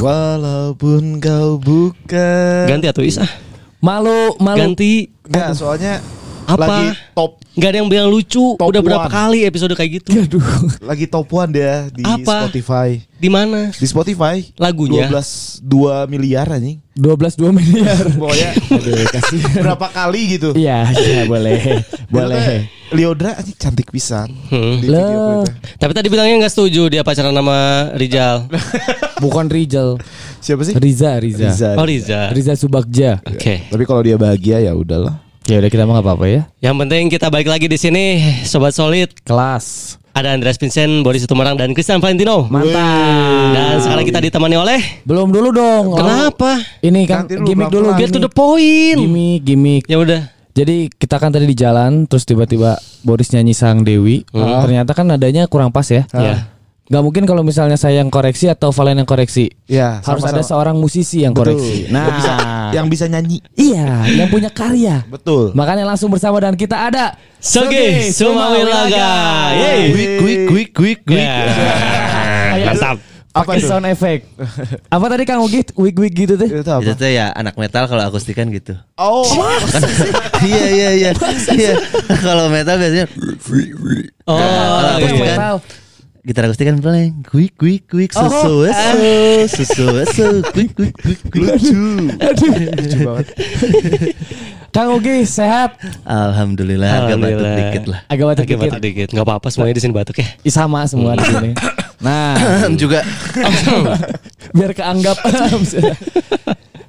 Walaupun kau bukan. Ganti atau Is ah. Malu, malu. Ganti. Nggak, soalnya Apa? lagi top Gak ada yang bilang lucu. Top Udah berapa one. kali episode kayak gitu? Aduh. lagi top one dia di Apa? Spotify. Di mana? Di Spotify Lagunya? 12 2 miliar anjing. 12 2 miliar. Pokoknya Aduh, kasih. berapa kali gitu. Iya, iya boleh. Ternyata boleh. Liodra anjing cantik pisan Hmm. di video Lah. klipnya. Tapi tadi bilangnya nggak setuju dia pacaran sama Rizal. Bukan Rizal. Siapa sih? Riza, Riza. Riza, Oh Rizal. Subagja. Oke. Tapi kalau dia bahagia ya udahlah. Ya udah kita mah nggak apa-apa ya. Yang penting kita balik lagi di sini, sobat solid. Kelas. Ada Andreas Vincent, Boris Itumarang dan Christian Valentino. Mantap. Dan sekarang kita ditemani oleh Belum dulu dong. Oh, Kenapa? Ini kan Nanti dulu, gimmick dulu. pelan-pelan. Get to the gimmick. point. Gimmick, gimmick. Ya udah. Jadi kita kan tadi di jalan terus tiba-tiba Boris nyanyi Sang Dewi. Ternyata kan nadanya kurang pas ya. Ya. Gak mungkin kalau misalnya saya yang koreksi atau Valen yang koreksi. Ya, Harus sama-sama. ada seorang musisi yang Betul. koreksi. Nah. Yang bisa, yang bisa nyanyi. iya, yang punya karya. Betul. Makanya langsung bersama dan kita ada Soge Sumawilaga. Yeay. Quick quick quick quick quick. Ya. Mantap. Apa Pakai itu? sound effect. Apa tadi Kang Ugi wig wig gitu tuh? Itu apa? Itu tuh ya anak metal kalau akustikan gitu. Oh, Iya iya iya. Iya. Kalau metal biasanya Oh, kalau iya. akustik kan Metal. gitar akustik kan peleng kuik kuik kuik susu susu susu susu kuik kuik kuik kuik. lucu. lucu banget. Kang Ugi sehat. Alhamdulillah agak batuk Alhamdulillah. dikit lah. Agak batuk iya. Agak batuk dikit. dikit. Enggak apa-apa semuanya di sini batuk ya. Ih, Sama semua di sini. Nah, Juga biar keanggap.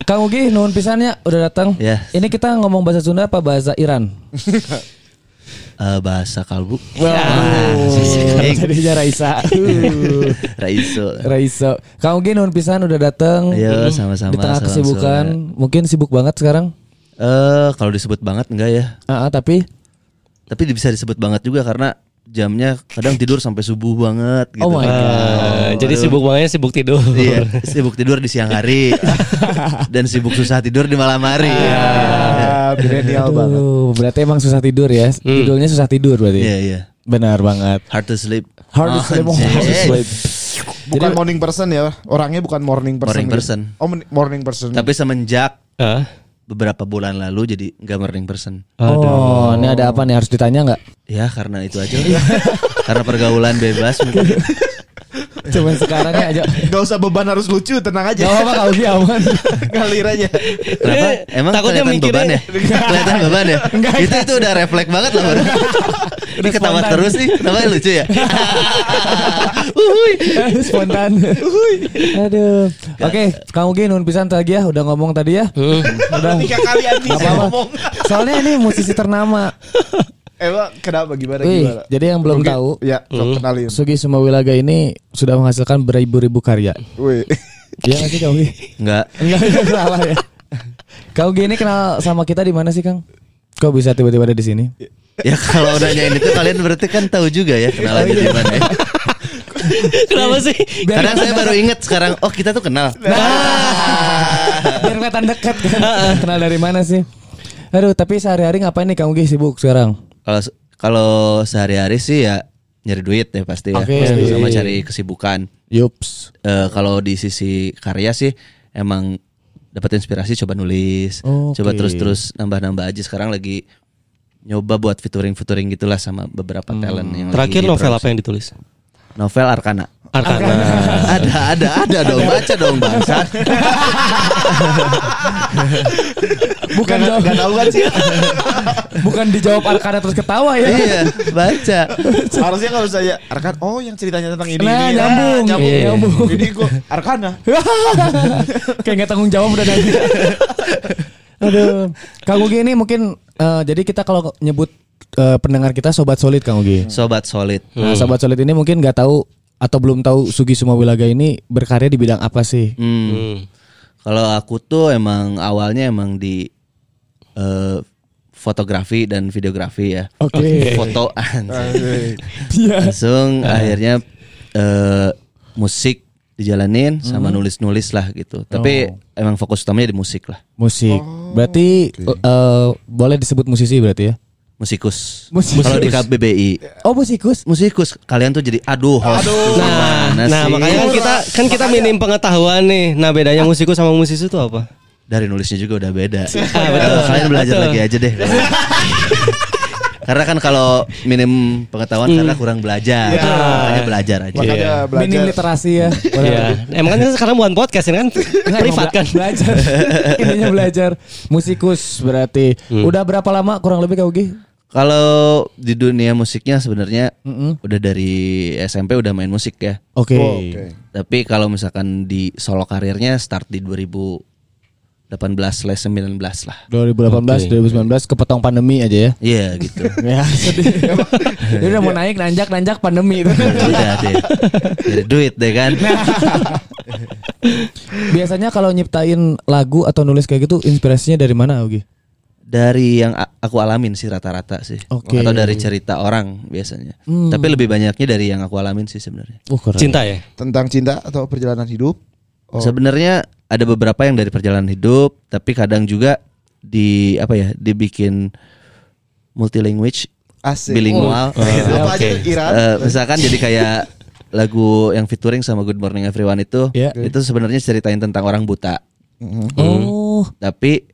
Kang Ugi nuhun pisannya udah datang. Ya. Ini kita ngomong bahasa Sunda apa bahasa Iran? eh, bahasa kalbu. Waduh. Jadinya Raisa. Uh, Raiso. Raisa. Kang Ugi nuhun pisan udah datang. Ayo sama-sama. Di tengah salam kesibukan, sore. mungkin sibuk banget sekarang. Eh kalau disebut banget enggak ya. Ah, ah, tapi Tapi bisa disebut banget juga karena jamnya kadang tidur sampai subuh banget gitu. Oh my God. Ah, jadi sibuk banget sibuk tidur. Iya, sibuk tidur di siang hari dan sibuk susah tidur di malam hari. Iya, Ah, milenial banget. Aduh, berarti emang susah tidur ya. Tidurnya susah tidur berarti. iya, iya. Benar banget. Hard to sleep. Hard to Oh, sleep, anjir. hard to sleep. Bukan morning person ya, orangnya bukan morning person. Morning gitu. person. Oh, men- morning person. Tapi semenjak Ah. beberapa bulan lalu jadi nggak morning person. Oh, ini ada apa nih harus ditanya nggak? Ya karena itu aja. Iya. lah. karena pergaulan bebas mungkin. Cuman sekarang ya aja. Gak usah beban harus lucu, tenang Gak aja. apa-apa kalau dia aman. Ngalir aja. Kenapa? Eh, Emang takutnya kelihatan mikirnya- beban ya? kelihatan beban ya? itu itu udah refleks banget loh. Bro. Ini ketawa spontan. terus nih, namanya lucu ya. Spontan. Aduh. Oke, Kang Ugi nuhun pisan tadi ya, udah ngomong tadi ya. Udah. Tiga kali Andi Gak saya apa-apa. ngomong. Soalnya ini musisi ternama. Emang kenapa gimana Wih, gimana? jadi yang belum Oke, tahu, Ya, sok kenalin. Sugi Sumawilaga ini sudah menghasilkan beribu-ribu karya. Wih. Iya nggak sih Kang Ugi? Enggak. Enggak enggak salah ya. Kang Ugi ini kenal sama kita di mana sih Kang? Kok bisa tiba-tiba ada di sini? Ya kalau udah nyanyi itu kalian berarti kan tahu juga ya Oh, kenalannya iya. di mana ya. Kenapa sih? Biar- Kadang saya baru inget sekarang, oh kita tuh kenal. Biar kelihatan dekat kan. Kenal dari mana sih? Aduh, tapi sehari-hari ngapain nih Kang Ugi sibuk sekarang? Kalau kalau sehari-hari sih ya nyari duit ya pasti ya, Oke. Pasti sama cari kesibukan. Yups. Eh, kalau di sisi karya sih emang dapat inspirasi coba nulis, Oke. coba terus-terus nambah-nambah aja. Sekarang lagi nyoba buat featuring-featuring gitulah sama beberapa talent yang lagi Terakhir novel diproduksi. apa yang ditulis? Novel Arkana. Arkana. ada ada ada dong baca dong bangsat. Bukan Gak, jawab, gak tahu kan sih. bukan dijawab Arkana terus ketawa ya. iya, baca. Harusnya kalau saya Arkan, oh yang ceritanya tentang ini Nah, ini. nyambung. Ah, nyambung. Iya, nyambung. Jadi gua Arkana. Nah, Kayak nggak tanggung jawab udah nanti. Aduh, Kang Ugi ini mungkin eh, jadi kita kalau nyebut eh, pendengar kita sobat solid Kang Ugi. Sobat solid. Hmm. Nah, sobat solid ini mungkin nggak tahu atau belum tahu Sugi Sumawilaga ini berkarya di bidang apa sih? Hmm. Kalau aku tuh emang awalnya emang di eh, fotografi dan videografi ya. Oke. Fotoan. Iya. Langsung akhirnya eh, musik dijalanin sama Hmm. nulis-nulis Oh. lah gitu. Tapi emang fokus utamanya di musik lah. Oh. Musik. Berarti eh, boleh disebut musisi berarti ya? musikus. Musikus. Kalau di KBBI Oh musikus. musikus kalian tuh jadi aduh host. Aduh. Nah, Gimana nah sih? makanya kan kita kan kita minim pengetahuan nih. Nah bedanya musikus sama musisi itu apa? dari nulisnya juga udah beda. Ah, betul. Eh, Kalian belajar Betul. lagi aja deh. karena kan kalau minim pengetahuan karena Hmm. kurang belajar. Makanya belajar aja. Makanya belajar. Minim literasi ya. Iya. Emang kan sekarang bukan podcast ini kan Nggak, privat emang bela- kan. Belajar. Intinya belajar. Musikus berarti. Hmm. Udah berapa lama kurang lebih Kak Ugi? Kalau di dunia musiknya sebenarnya Mm-mm. udah dari SMP udah main musik ya. Oke. Oh, oke. Tapi kalau misalkan di solo karirnya start di 2018 19 lah. 2018 2019 kepotong pandemi aja ya. Iya gitu. Ya sedih. Dia udah mau naik nanjak nanjak pandemi itu. Udah deh. Dari duit deh kan. Nah, Biasanya kalau nyiptain lagu atau nulis kayak gitu inspirasinya dari mana Ugi? Dari yang a- aku alamin sih rata-rata sih. Oke. Atau dari cerita orang biasanya. Tapi lebih banyaknya dari yang aku alamin sih sebenarnya. Uh, keren. Cinta ya. Tentang cinta atau perjalanan hidup? Oh. Sebenarnya ada beberapa yang dari perjalanan hidup, tapi kadang juga di apa ya, dibikin multilinguage, Asik. Oh. Iya. bilingual. Apa aja tuh, Iran? Eh, misalkan jadi kayak lagu yang featuring sama Good Morning Everyone itu, Iya. itu sebenarnya ceritain tentang orang buta, Mhm. Oh. tapi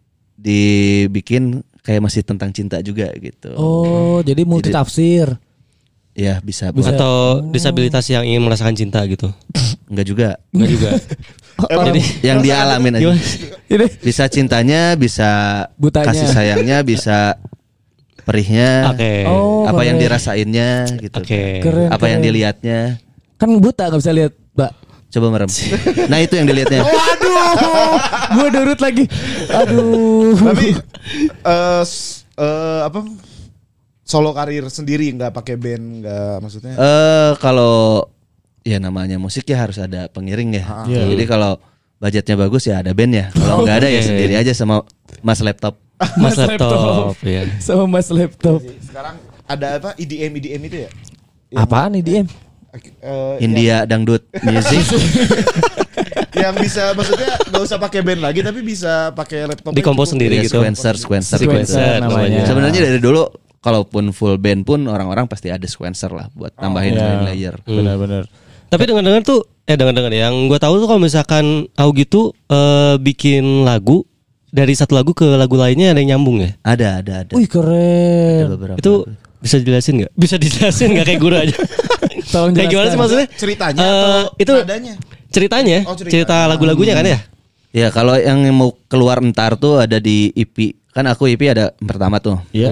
dibikin kayak masih tentang cinta juga gitu. Oh, jadi multi tafsir. Ya bisa, buat Atau disabilitas yang ingin merasakan cinta gitu. enggak juga. Enggak juga. Jadi Yang dia alamin aja. Gimana? Ini Bisa cintanya, bisa Butanya. kasih sayangnya, bisa perihnya. oke. Oh, apa yang keren. dirasainnya gitu. Oke. Keren, apa yang keren. dilihatnya? kan buta nggak bisa lihat, Mbak. Coba merem. Nah, itu yang dilihatnya. Oh. Aduh, gue durut lagi. Aduh. Tapi eh s- eh, apa solo karir sendiri nggak pakai band nggak maksudnya? Eh kalau ya namanya musik ya harus ada pengiring ya. Ah. Jadi kalau budgetnya bagus ya ada band ya. Kalau nggak ada ya Iya. Oke. sendiri aja sama Mas laptop. Mas laptop ya. Sama Mas laptop. Sekarang ada apa EDM EDM itu ya? Apaan nih DM? Iya. Eh, India dangdut music. yang bisa maksudnya nggak usah pakai band lagi tapi bisa pakai laptop Dikompos sendiri Ya, gitu. Sequencer, sequencer, Sequencer gitu. namanya. Sebenarnya dari dulu kalaupun full band pun orang-orang pasti ada sequencer lah buat tambahin Oh, iya. layer. Hmm. Benar-benar. Tapi dengar-dengar tuh eh dengar-dengar yang gue tahu tuh kalau misalkan Augie tuh eh, bikin lagu dari satu lagu ke lagu lainnya ada yang nyambung ya. Ada, ada, ada. Wih Ada keren. beberapa. Itu bisa dijelasin nggak? Bisa dijelasin nggak kayak guru aja? Tolong kayak gimana sih jelaskan. maksudnya? ceritanya Eh, atau itu nadanya? ceritanya, Oh, cerita. cerita lagu-lagunya kan ya? Ya kalau yang mau keluar entar tuh ada di EP. Kan aku EP ada yang pertama tuh. Hmm. Iya.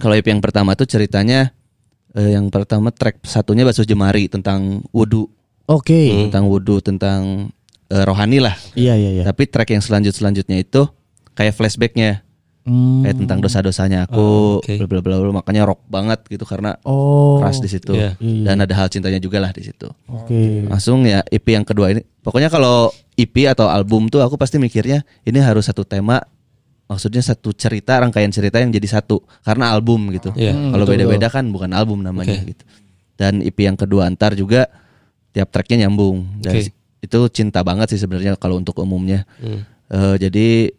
Kalau EP yang pertama tuh ceritanya eh, yang pertama track satunya Basuh Jemari tentang wudhu, Hmm. Oke. tentang wudhu, tentang eh, rohani lah. Iya iya iya. Tapi track yang selanjut selanjutnya itu kayak flashbacknya, Hmm. kayak tentang dosa-dosanya Oh, aku, oke. bla bla bla bla. Makanya rock banget gitu karena Oh. keras di situ iya. dan ada hal cintanya juga lah di situ. Oke. Langsung ya EP yang kedua ini. Pokoknya kalau EP atau album tuh aku pasti mikirnya ini harus satu tema maksudnya satu cerita rangkaian cerita yang jadi satu karena album gitu. Iya. Hmm, kalau beda-beda kan bukan album namanya gitu. Dan EP yang kedua antar juga tiap tracknya nyambung. Dari- Oke. Itu cinta banget sih sebenarnya kalau untuk umumnya. Eh, jadi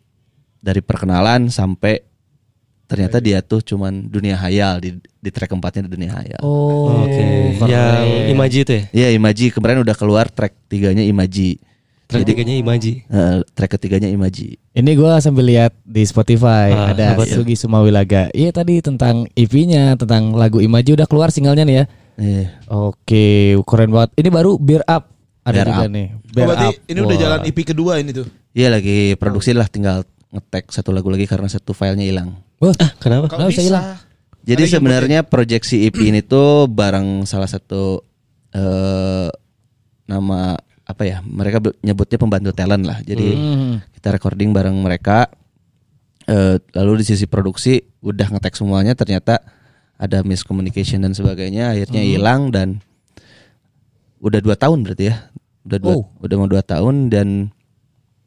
dari perkenalan sampai ternyata dia tuh cuman dunia hayal di di track keempatnya di dunia hayal. Hmm. Oh. Oke. Yang Imaji itu ya? Iya Imaji kemarin udah keluar track tiganya Imaji. Track tiganya Imaji. Eh, track ketiganya Imaji. Ini gue sambil lihat di Spotify Ah, ada apa tuh? Sugi Sumawilaga. Iya tadi tentang EP-nya tentang lagu Imaji udah keluar singlenya nih ya. Iya. Oke, keren banget. Ini baru Beer Up ada Beer juga Up. nih. Oh, Beer berarti Up. ini udah Wah. jalan EP kedua ini tuh Iya lagi produksi lah tinggal ngetek satu lagu lagi karena satu filenya hilang. Wah, Ah, kenapa? Kok bisa hilang? Jadi sebenarnya proyeksi EP ini tuh bareng salah satu eh nama apa ya? Mereka be- nyebutnya pembantu talent lah. Jadi kita recording bareng mereka. Eh, lalu di sisi produksi udah ngetek semuanya ternyata ada miscommunication dan sebagainya akhirnya hilang dan udah dua tahun berarti ya udah dua, Oh. udah mau dua tahun dan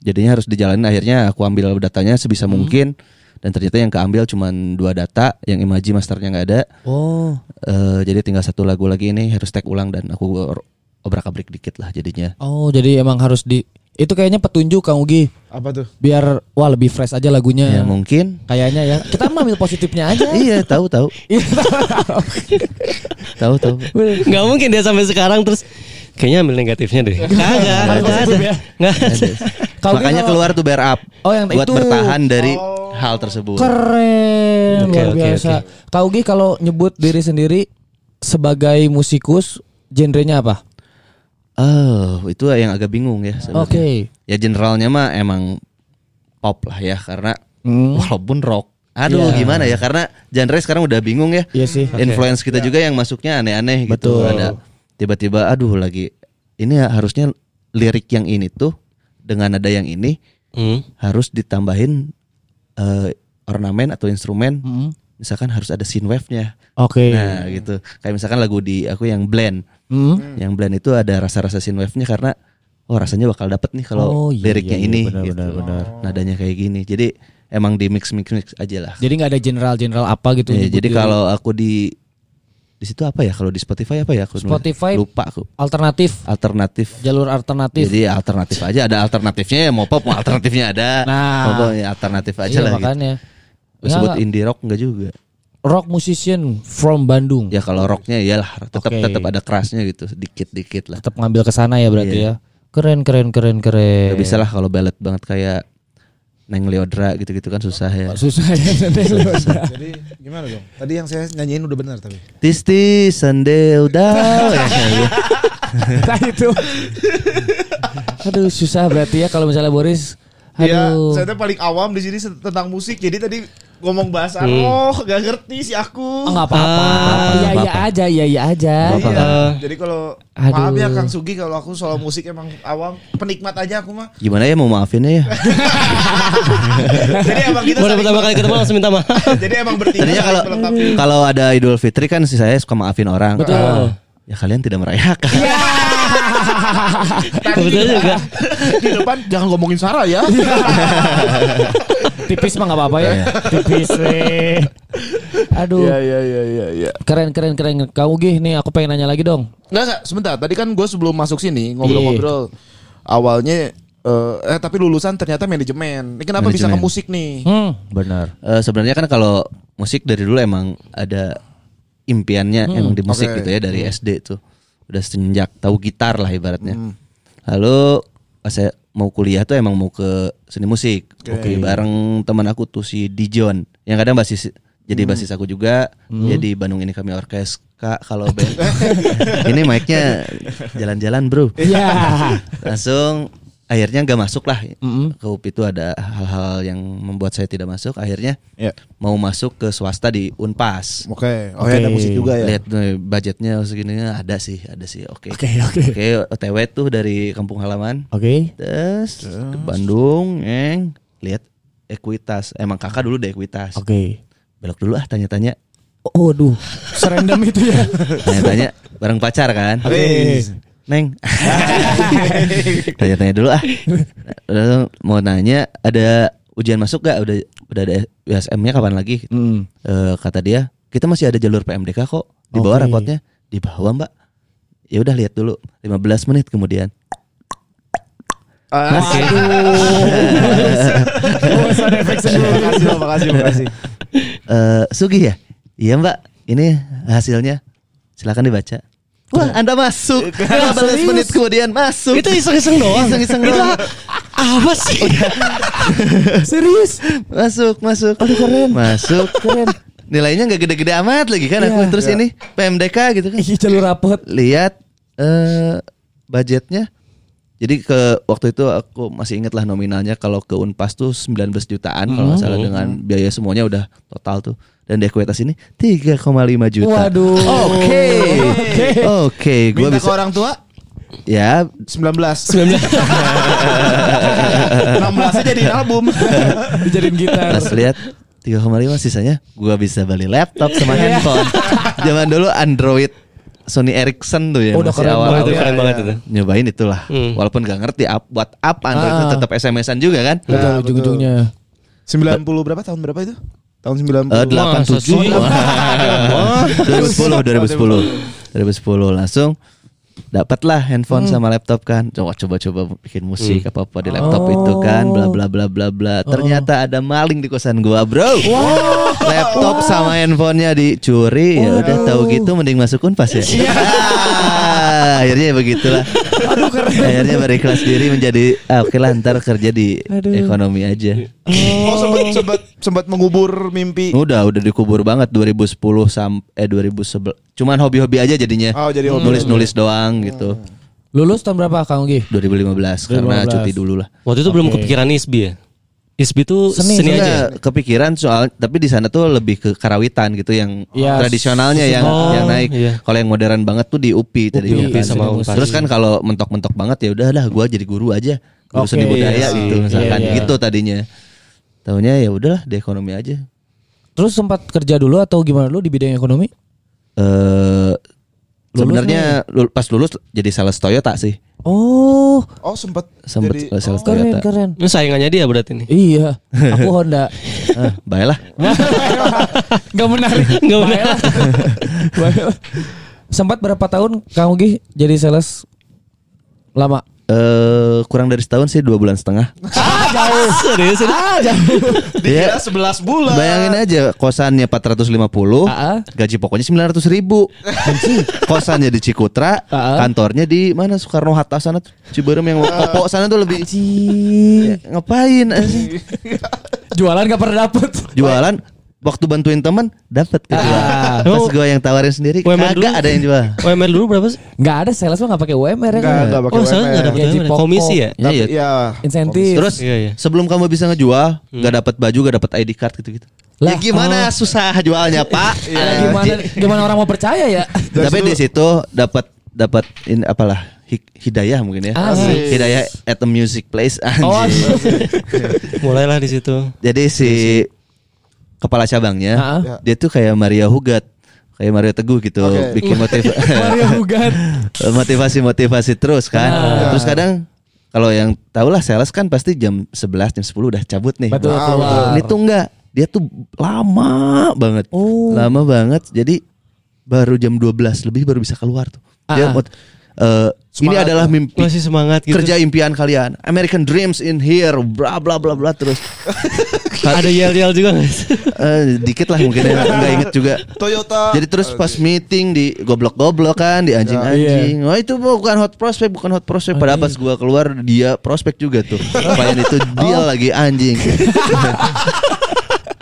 jadinya harus dijalanin akhirnya aku ambil datanya sebisa mungkin dan ternyata yang keambil cuman dua data yang imaji masternya nggak ada Oh. Eh, jadi tinggal satu lagu lagi ini harus tag ulang dan aku obrak abrik dikit lah jadinya Oh, jadi emang harus di Itu kayaknya petunjuk Kang Ugi Apa tuh? biar wah lebih fresh aja lagunya. Ya mungkin. Kayaknya ya. Kita mah ambil positifnya aja. Iya. Iya tahu tahu tahu tahu. Gak mungkin dia sampai sekarang terus kayaknya ambil negatifnya deh. Kagak, nggak ada. Nggak ada. Kalau Makanya gitu- keluar tuh bear up. Oh, yang buat itu. Oh. bertahan dari hal tersebut. Keren, Oke, luar oke, biasa. Kau Gi kalau nyebut diri sendiri sebagai musikus, genrenya apa? Oh, itu yang agak bingung ya. sebenarnya. Oke. Ya generalnya mah emang pop lah ya karena Hmm. walaupun rock. Aduh Iya. gimana ya karena genre sekarang udah bingung ya. Iya sih. Influence kita juga yang masuknya aneh-aneh gitu. Betul. Ada tiba-tiba aduh lagi ini ya harusnya lirik yang ini tuh dengan nada yang ini Hmm. harus ditambahin eh, ornamen atau instrumen. Hmm. Misalkan harus ada synthwave-nya. Oke. Nah, gitu. Kayak misalkan lagu di aku yang blend. Hmm. Yang blend itu ada rasa-rasa synthwave-nya karena oh rasanya bakal dapet nih kalau Oh, iya, liriknya iya, ini benar, gitu. benar, benar. Nadanya kayak gini. Jadi emang di mix mix mix aja lah. Jadi nggak ada general-general apa gitu. Iya, nyebut jadi diri. kalau aku di di situ apa ya? Kalau di Spotify apa ya? Aku nulis? Spotify. lupa aku. alternatif, Alternatif. jalur alternatif. Jadi alternatif aja ada alternatifnya ya mau pop mau alternatifnya ada. Nah. Mau pop, ya alternatif aja Iya, lah. Gitu. makanya. Ya. Terus Nggak, buat nggak. indie rock enggak juga. Rock musician from Bandung. Ya kalau rocknya iyalah tetap Oke. tetap ada kerasnya gitu sedikit-dikit lah. Tetap ngambil ke sana ya berarti ya. Keren keren keren keren. Gak Iya. bisa lah kalau balad banget kayak Neng Leodra gitu-gitu kan susah ya. Susah ya. Jadi gimana dong? Tadi yang saya nyanyiin udah benar tapi. Tisti sandel Ya, down. nah itu. Aduh susah berarti ya kalau misalnya Boris. Iya, Aduh. saya tuh paling awam di sini se- tentang musik. Jadi tadi ngomong bahasa roh, gak ngerti si aku. Hmm. Oh, nggak apa-apa. Iya iya aja, iya iya aja. Iya. Eh, Jadi kalau aduh. maaf ya Kang Sugi kalau aku soal musik emang awam, penikmat aja aku mah. Gimana ya mau maafinnya ya? Jadi emang kita Baru saling- pertama kali ketemu langsung minta maaf. Jadi emang bertiga Tadinya saling kalau melengkapi. kalau ada Idul Fitri kan si saya suka maafin orang. Betul. Ah, Ya kalian tidak merayakan. Tadi di depan- Kebetulan gitu. juga. Di depan jangan ngomongin Sarah ya. Tipis mah nggak apa-apa ya. Tipis weh. Aduh. iya iya iya iya. Keren keren keren. Kamu gih nih aku pengen nanya lagi dong. Enggak enggak, sebentar. Tadi kan gue sebelum masuk sini ngobrol-ngobrol awalnya eh, eh tapi lulusan ternyata manajemen. Ini kenapa bisa ke Manajemen. musik nih? Hmm, benar. Eh, sebenarnya kan kalau musik dari dulu emang ada impiannya emang di Oke. musik Hmm. gitu ya dari SD tuh udah semenjak tahu gitar lah ibaratnya Hmm. lalu pas saya mau kuliah tuh emang mau ke seni musik Oke, bareng teman aku tuh si Dijon yang kadang basis jadi basis aku juga jadi Bandung ini kami orkes kak kalau band ini mic-nya jalan-jalan bro Iya. langsung akhirnya nggak masuk lah ke UP itu ada hal-hal yang membuat saya tidak masuk akhirnya Ya. mau masuk ke swasta di Unpas Oke. Oh ya ada musik juga ya. lihat nih, budgetnya segini ada sih ada sih oke Oke oke. oke OTW tuh dari kampung halaman Oke. terus ke Bandung eng lihat ekuitas emang kakak dulu di ekuitas Oke. belok dulu ah tanya-tanya Oh, aduh. Serendam itu ya. tanya-tanya bareng pacar kan Wis. Neng. Tanya-tanya dulu ah. Lalu mau nanya ada ujian masuk gak? Udah udah ada USM-nya kapan lagi? Hmm. Eh, kata dia, kita masih ada jalur PMDK kok. Di Oke. bawah rapotnya, di bawah Mbak. Ya udah lihat dulu. 15 menit kemudian. Ah, Oke. makasih, makasih, makasih. Eh, Sugi ya? Iya Mbak, ini hasilnya. Silakan dibaca. Wah, Anda masuk. 15 menit kemudian masuk. Itu iseng-iseng doang. Iseng-iseng Itu doang. apa sih? Serius? Masuk, masuk. Aduh keren. Masuk. Keren. Nilainya nggak gede-gede amat lagi kan aku Iya. terus ini PMDK gitu kan. Ih, jalur rapet. Lihat eh budgetnya. Jadi ke waktu itu aku masih ingat lah nominalnya kalau ke Unpas tuh 19 jutaan kalau nggak salah dengan biaya semuanya udah total tuh. Dan di ekuitas ini 3,5 juta. Waduh. Oke. Oke. Oke, gua Minta ke bisa orang tua ya 19. 19. 16 jadi album. Dijadiin gitar. Pas lihat 3,5 sisanya gua bisa beli laptop sama handphone. Zaman dulu Android Sony Ericsson tuh ya Oh, udah masih keren awal, Wah, awal itu keren banget itu. nyobain itulah. Hmm. Walaupun gak ngerti ap- buat apa Android itu Ah. tetap SMS-an juga kan. Betul, Nah, ujung-ujungnya. 90 berapa tahun berapa itu? Tahun Oh. 90. Eh, 87 Eh, Masa sih? Oh. Wah. 2010 2010 2010 langsung dapatlah handphone sama laptop kan coba coba coba bikin musik apa apa di laptop itu kan bla bla bla bla bla ternyata ada maling di kosan gua bro laptop sama handphonenya dicuri ya udah tahu gitu mending masuk unpas ya Ah, akhirnya ya begitulah akhirnya berikhlas diri menjadi ah, oke lah ntar kerja di ekonomi aja Oh sempat sempat sempat mengubur mimpi. Udah, udah dikubur banget 2010 sampai eh 2011. Cuman hobi-hobi aja jadinya. Oh, jadi Hmm. hobi. Iya, Nulis-nulis doang gitu. Lulus tahun berapa Kang Ugi? 2015, karena 2015. cuti dulu lah. Waktu itu belum kepikiran ISBI ya. ISBI tuh Seni, seni, seni. aja. ya? Nah, kepikiran soal tapi di sana tuh lebih ke karawitan gitu yang Iya, tradisionalnya yang Oh, yang naik. iya. Kalau yang modern banget tuh di UPI tadi. UPI sama Unpas. Terus kan kalau mentok-mentok banget ya udahlah gua jadi guru aja. Guru Oke, seni budaya iya sih. gitu misalkan Iya, iya. gitu tadinya. Taunya ya udahlah di ekonomi aja. Terus sempat kerja dulu atau gimana lu di bidang ekonomi? eh sebenarnya lul- pas lulus jadi sales Toyota sih. Oh, Oh sempat Sempet jadi Oh. sales keren Toyota. keren. Ini saingannya dia berarti nih. Iya, aku Honda. Ah, baiklah. Gak menarik. Nggak benar. Baiklah. sempat berapa tahun Kang Ugi jadi sales lama? Eh kurang dari setahun sih dua bulan setengah. Serius, serius. Ah, dikira 11 Iya, bulan. Iya. Bayangin aja kosannya 450, Ah. gaji pokoknya 900 ribu. kosannya di Cikutra, Ah. kantornya di mana Soekarno Hatta sana tuh, Ciberem yang Kopo sana tuh lebih Ya, ngapain anjing? Jualan gak pernah dapet. Jualan waktu bantuin teman dapat gitu. Ah. Pas gue yang tawarin sendiri UMR dulu. kagak ada yang jual. UMR dulu berapa sih? Gak ada sales mah gak pakai UMR Enggak, ya kan? enggak pakai Oh, soalnya nggak dapat UMR. Gaji UMR. pokok. komisi ya. Iya, iya. Tapi ya. Insentif. Terus Iya, iya. sebelum kamu bisa ngejual, nggak dapat baju, nggak dapat ID card gitu-gitu. Hmm. Lah, oh. ya gimana susah jualnya Pak? Eh, Nah, gimana di- gimana orang mau percaya ya? Tapi di situ dapat dapat in apalah hi- hidayah mungkin ya. Asik. Hidayah at a music place anjing. Ah, Oh, Mulailah di situ. Jadi si kepala cabangnya Ah. dia tuh kayak Maria Hugat, kayak Maria Teguh gitu, Oke. bikin motiv- Mario Hugat. motivasi-motivasi terus kan. Ah. Terus kadang kalau yang tau lah sales kan pasti jam 11 jam 10 udah cabut nih. Betul, Wah, keluar. Ini tuh enggak. Dia tuh lama banget. Lama banget. Jadi baru jam 12 lebih baru bisa keluar tuh. Ah. Dia mot- eh, ini adalah mimpi Masih semangat gitu. kerja impian kalian. American dreams in here, bla bla bla bla terus. Ada yel-yel juga nggak sih? Eh, dikit lah mungkin ya, nggak inget juga. Toyota. Jadi terus pas meeting di goblok-goblok kan, di anjing-anjing. Wah itu bukan hot prospect, bukan hot prospect. Padahal pas gua keluar dia prospek juga tuh. Klien itu dia lagi anjing.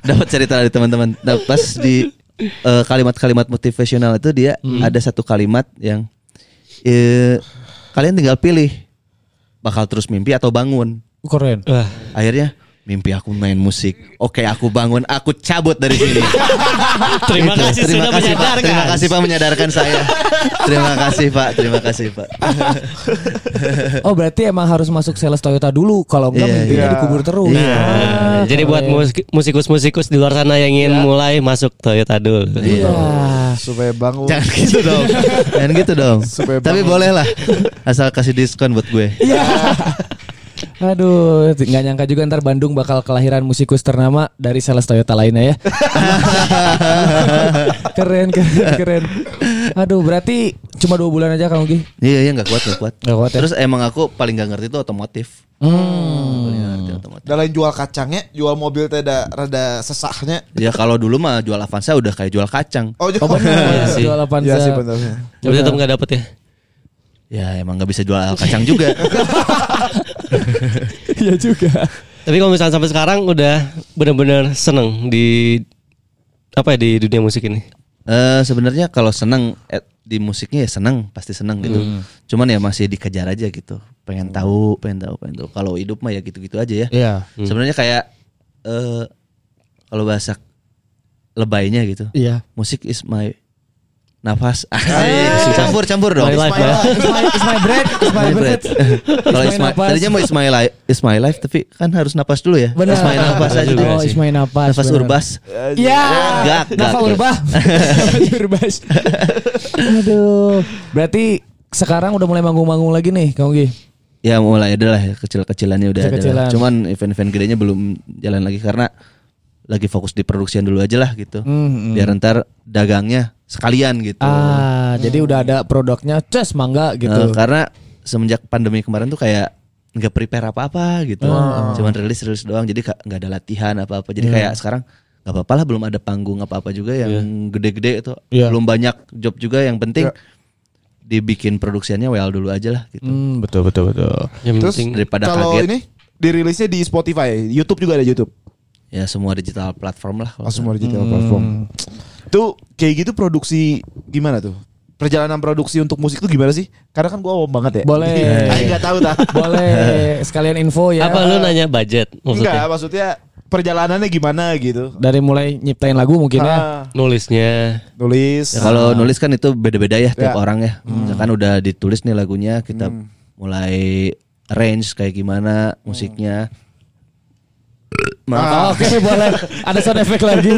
Dapat cerita dari teman-teman. Nah, pas di eh, kalimat-kalimat motivasional itu dia ada satu kalimat yang eh, kalian tinggal pilih bakal terus mimpi atau bangun. Keren. Wah. Akhirnya mimpi aku main musik. Oke, aku bangun, aku cabut dari sini. Terima Itu. kasih Gitu. Nah, terima sudah menyadarkan. kasih Pak. Terima kasih Pak menyadarkan saya. terima kasih Pak, terima kasih Pak. Oh berarti emang harus masuk sales Toyota dulu kalau enggak Iya, mimpinya iya. dikubur terus. Iya. Ah, Nah, jadi buat keren. musik- musikus-musikus di luar sana yang ingin mulai masuk Toyota dulu. Iya. Wah. Ya, supaya bangun. Jangan gitu dong. Jangan gitu dong. Supaya Tapi bangun. boleh lah. Asal kasih diskon buat gue. Iya. Aduh, nggak nyangka juga ntar Bandung bakal kelahiran musikus ternama dari sales Toyota lainnya ya. keren, keren, keren. Aduh, berarti cuma dua bulan aja Kang Ugi. Iya, iya nggak kuat, nggak kuat. Nggak kuat ya? Terus emang aku paling gak ngerti itu otomotif. Paling nggak ngerti otomotif. Dan lain jual kacangnya, jual mobil teh ada rada sesahnya. Ya kalau dulu mah jual Avanza udah kayak jual kacang. Oh, jual. Oh benar, sih. jual Avanza. Iya sih benar. Tapi tetap nggak dapet ya. Ya emang nggak bisa jual kacang juga. Iya juga. Tapi kalau misalnya sampai sekarang udah benar-benar seneng di apa ya di dunia musik ini. Eh sebenarnya kalau senang eh, di musiknya ya senang pasti senang gitu. Hmm. Cuman ya masih dikejar aja gitu. Pengen tahu, pengen tahu, pengen tahu. Kalau hidup mah ya gitu-gitu aja ya. Iya. Sebenarnya kayak eh kalau bahasa lebaynya gitu. Iya. Musik is my nafas. Ah, campur campur dong. My life ya. It's iya, my, it's my bread, it's my My bread. breath. Kalau It's is my my, nafas. tadinya mau is my life, is my life tapi kan harus nafas dulu ya. Benar. Is my nafas aja. Oh, it's my nafas. Nafas benar. urbas. Iya. Gak, gak. Nafa urbah. Nafas urbas. Aduh. Berarti sekarang udah mulai manggung-manggung lagi nih Kang Ugi. Ya mulai ada lah ya, kecil-kecilannya udah ada. Kecil-kecilan. lah. Cuman event-event gedenya belum jalan lagi karena lagi fokus di produksian dulu aja lah gitu. Hmm, hmm. Biar ntar dagangnya sekalian gitu. Ah, jadi udah ada produknya, ces mangga Eh, gitu. karena semenjak pandemi kemarin tuh kayak nggak prepare apa-apa gitu. Ah. Cuman rilis-rilis doang jadi ka- nggak ada latihan apa-apa. Jadi Iya. kayak sekarang nggak apa-apa lah belum ada panggung apa-apa juga yang gede-gede itu. Iya. Belum banyak job juga yang penting dibikin produksiannya well dulu aja lah gitu. Hmm, betul betul betul. Yang Terus penting Daripada Kalau kaget ini dirilisnya di Spotify, YouTube juga ada YouTube. ya semua digital platform lah. kalau Langsung di digital platform. Tuh kayak gitu produksi gimana tuh? Perjalanan produksi untuk musik tuh gimana sih? Karena kan gua awam banget ya. Boleh. Ayo nggak tahu tak. Boleh sekalian info ya. apa lu nanya budget Enggak, maksudnya? maksudnya perjalanannya gimana gitu. Dari mulai nyiptain lagu mungkin ya. Ah, Nulisnya. nulis. Ah. Ya, kalau nulis kan itu beda-beda ya Ya. tiap Hmm. orang ya. Misalkan udah ditulis nih lagunya, kita mulai range kayak gimana musiknya. Maaf. Ah, Oke boleh. Ada sound effect lagi.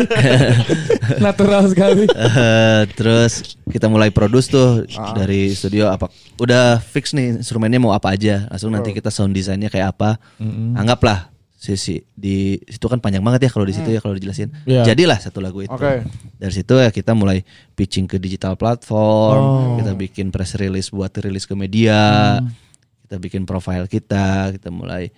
Natural sekali. Eh, terus kita mulai produce tuh dari studio apa udah fix nih instrumennya mau apa aja langsung nanti kita sound desainnya kayak apa anggaplah sisi di situ kan panjang banget ya kalau di situ ya kalau dijelasin Iya. jadilah satu lagu itu Oke. dari situ ya kita mulai pitching ke digital platform kita bikin press release buat rilis ke media kita bikin profile kita kita mulai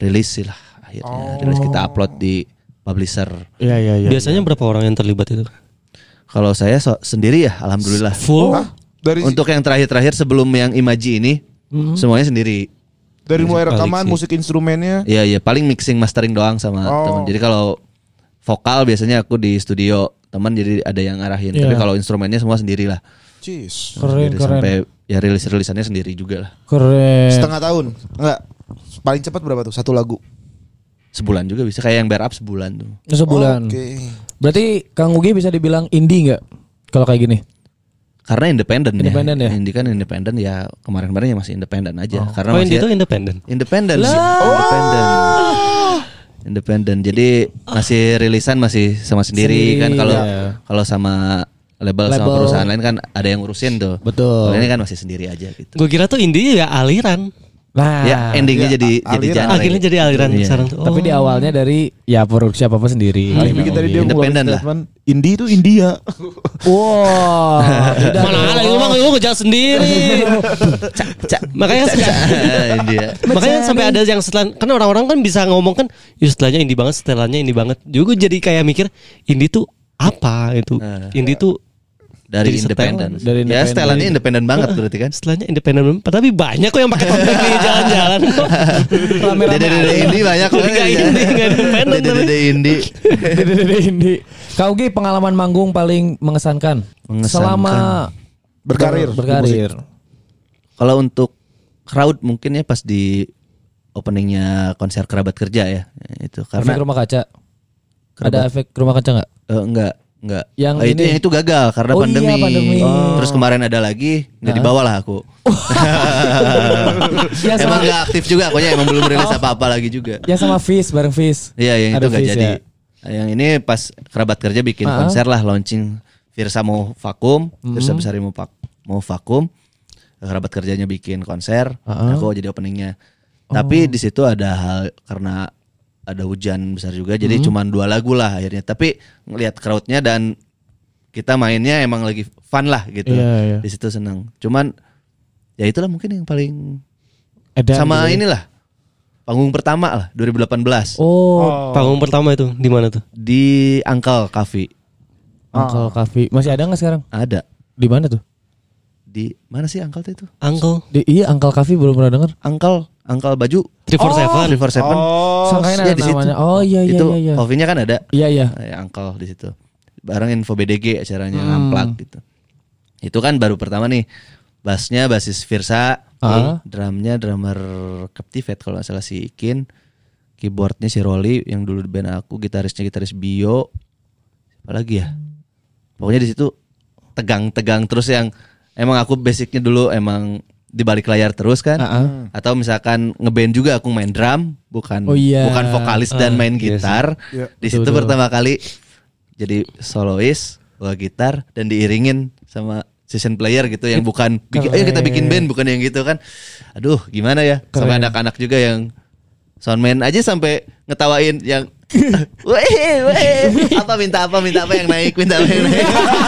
rilis sih lah akhirnya rilis kita upload di publisher Iya iya Biasanya berapa orang yang terlibat itu? kalau saya so- sendiri ya alhamdulillah Full. Hah? Dari Untuk yang terakhir-terakhir sebelum yang Imaji ini Hmm. semuanya sendiri. dari mulai balik rekaman sih. musik instrumennya. Iya iya paling mixing mastering doang sama Oh. teman. Jadi kalau vokal biasanya aku di studio teman jadi ada yang ngarahin. Tapi Iya. kalau instrumennya semua sendiri lah. Jeez. Keren Sendiri keren. Sampai ya rilis rilisannya sendiri juga lah. Keren. Setengah tahun. Enggak. Paling cepat berapa tuh? Satu lagu. Sebulan juga bisa kayak yang bear up sebulan tuh. Sebulan. Oke. Berarti Kang Ugi bisa dibilang indie nggak? Kalau kayak gini. Karena independen ya. Independen ya? Indie kan independen ya kemarin-kemarin ya masih independen aja. Oh, Karena masih itu independen. Independen sih. Independen. Independen. Jadi masih rilisan masih sama Sendiri, sendiri, kan kalau iya. kalau sama label, sama Label. perusahaan lain kan ada yang ngurusin tuh. Betul. Kalau ini kan masih sendiri aja gitu. Gue kira tuh indie ya aliran. Nah. ya endingnya Iya, jadi a- jadi aliran. genre. Akhirnya jadi aliran Ya, Iya. sekarang tuh. Tapi di Oh. awalnya dari ya produksi apa apa sendiri. Paling bikin tadi dia Independen ngeluarin lah. statement, Indie itu India. Wow. Udah Mana dong. ada lu mah lu ngejar sendiri. Cak, cak. Makanya Cak, sekarang- cak. Dia. Makanya sampai ada yang setelan kan orang-orang kan bisa ngomong kan "Ih, setelahnya indie banget, setelannya indie banget. Juga gue jadi kayak mikir indie tuh apa itu? Indie tuh Dari Jadi independen. setelan. Dari Ya independen. setelannya independen banget berarti kan. setelahnya independen tapi banyak kok yang pakai topeng di jalan-jalan kok. Dede dede indie banyak Jadi nggak indie, nggak independen Dede dede indie. Dede-dede indie. Kau Gi pengalaman manggung paling mengesankan. Mengesankan. Selama Berkarir. ber- berkarir. Kalau untuk crowd mungkin ya pas di openingnya konser kerabat kerja ya itu efek karena rumah kaca. Ada Kerabat. efek rumah kaca nggak? eh, enggak enggak Yang Eh, itu ini. yang itu gagal karena Oh iya, pandemi, pandemi. Oh. terus kemarin ada lagi nggak dibawa lah aku Ya, emang sama- nggak aktif juga akunya emang belum rilis Oh. apa apa lagi juga Ya sama Fis bareng Fis. iya yang itu Ada nggak Fis, jadi ya. yang ini pas kerabat kerja bikin Ah. Hmm. konser lah launching Virsa mau vakum Virsa Besari mau pak mau vakum kerabat kerjanya bikin konser Ah, aku jadi openingnya Oh. tapi di situ ada hal karena ada hujan besar juga jadi Hmm. cuman dua lagu lah akhirnya tapi ngelihat crowdnya dan kita mainnya emang lagi fun lah gitu Iya, iya. di situ senang cuman ya itulah mungkin yang paling Edan sama gitu. inilah panggung pertama lah 2018 Oh, Panggung pertama itu di mana tuh? di Uncle Cafe Uncle Kavi. Masih ada nggak sekarang? ada Di mana tuh? di mana sih Uncle tuh itu Uncle Di, iya Uncle Kavi belum pernah dengar. Uncle Uncle baju 347. 347 Oh, Sangkain ya ada di situ. namanya. Oh iya iya itu iya iya. coffee-nya kan ada Iya iya. Hmm. ya, Uncle di situ bareng info BDG acaranya ngamplak gitu itu kan baru pertama nih bassnya basis Virsa Ah. drumnya drummer Captivate kalau nggak salah si Ikin keyboardnya si Rolly yang dulu di band aku gitarisnya gitaris Bio apa lagi ya pokoknya di situ tegang-tegang terus yang emang aku basicnya dulu emang di balik layar terus kan Ah, atau misalkan ngeband juga aku main drum bukan Oh, iya. bukan vokalis Eh, dan main iya sih. gitar Iya. di situ pertama kali jadi solois bawa gitar dan diiringin sama session player gitu yang bukan bikin ayo kita bikin band bukan yang gitu kan aduh gimana ya sampai anak-anak juga yang soundman aja sampai ngetawain yang Weh, weh. Apa minta apa minta apa yang naik, minta apa yang naik.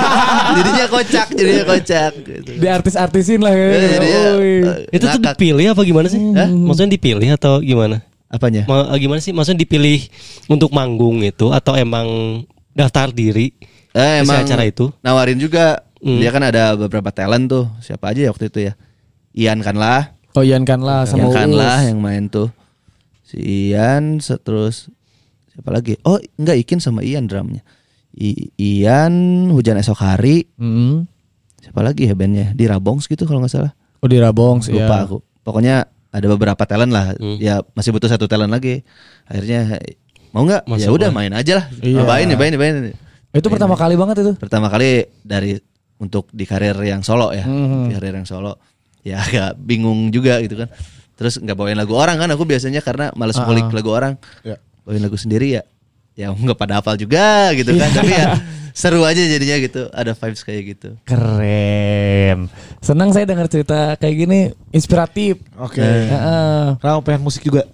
jadinya kocak, jadinya kocak. Gitu. Di artis-artisin lah ya. Ya, jadinya, Oi. eh, Itu tuh ngakak. dipilih apa gimana sih? Maksudnya dipilih atau gimana? apanya? Ma- eh, gimana sih? Maksudnya dipilih untuk manggung itu atau emang daftar diri? Si Eh, emang acara itu? nawarin juga. Hmm. Dia kan ada beberapa talent tuh. Siapa aja ya waktu itu ya? Ian kan lah. Oh Ian kan lah sama Ian kan Uus. lah yang main tuh. Si Ian se- terus siapa lagi? Oh, enggak Ikin sama Ian drumnya. I- Ian hujan esok hari. Mm. Siapa lagi ya bandnya? Di Rabongs gitu kalau nggak salah. Oh di Rabongs Iya. ya. Lupa aku. Pokoknya ada beberapa talent lah. Hmm. Ya masih butuh satu talent lagi. Akhirnya mau nggak? Ya udah main aja lah. Iya. Main, main, main. Itu pertama iya. kali banget itu. pertama kali dari untuk di karir yang solo ya di karir yang solo ya agak bingung juga gitu kan terus nggak bawain lagu orang kan aku biasanya karena males ngulik lagu orang Iya. bawain lagu sendiri ya ya nggak pada hafal juga gitu kan tapi ya seru aja jadinya gitu ada vibes kayak gitu Keren. Senang saya dengar cerita kayak gini, inspiratif. Oke. Iya. Iya. Heeh. Rao pengen musik juga.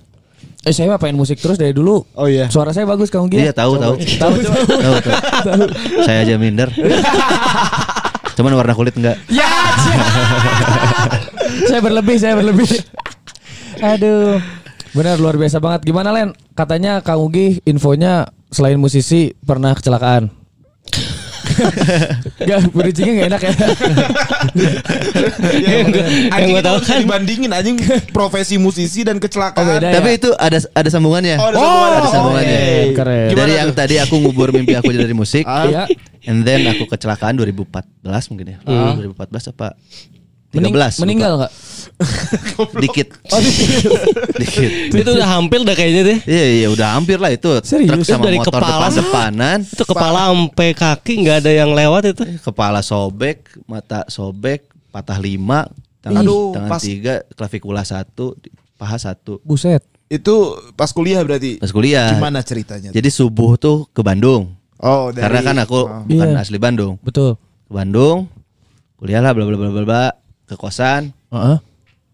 Eh saya mah pengen musik terus dari dulu. Oh iya. Suara saya bagus kamu iya gitu. tahu tahu Tahu tahu. tahu tahu. saya aja minder cuman warna kulit enggak Ya. cia. saya berlebih, saya berlebih. Aduh. Benar luar biasa banget. Gimana Len? Katanya Kang Ugi infonya selain musisi pernah kecelakaan. Gak bridgingnya gak enak ya Yang gua- yang Iya, Anjing gua itu tahu harus kan. dibandingin anjing profesi musisi dan kecelakaan. Oh, beda ya? tapi itu ada ada sambungannya Oh, ada Oh, sambungan, ada ada sambungannya. sambungannya. Keren. Gimana dari yang tuh? Ah. tadi aku ngubur mimpi aku dari musik Iya. Hmm. And then aku kecelakaan 2014 mungkin ya. 2014 apa? 13. Mening- lupa. Meninggal Oh, gak? Dikit. Dikit. Itu udah hampir udah kayaknya deh. Iya iya udah hampir lah itu. Serius? Truk sama Dari motor kepala. depan-depanan. Itu kepala sampai kaki nggak ada yang lewat itu. Kepala sobek, mata sobek, patah lima, tangan, Aduh, tangan pas- tiga, klavikula satu, paha satu. Buset Itu pas kuliah berarti. Pas kuliah. Gimana ceritanya? Jadi subuh tuh ke Bandung. oh, dari, Karena kan aku Oh. bukan Iya. asli Bandung. Betul Ke Bandung, kuliah lah bla bla bla bla bla ke kosan. Heeh.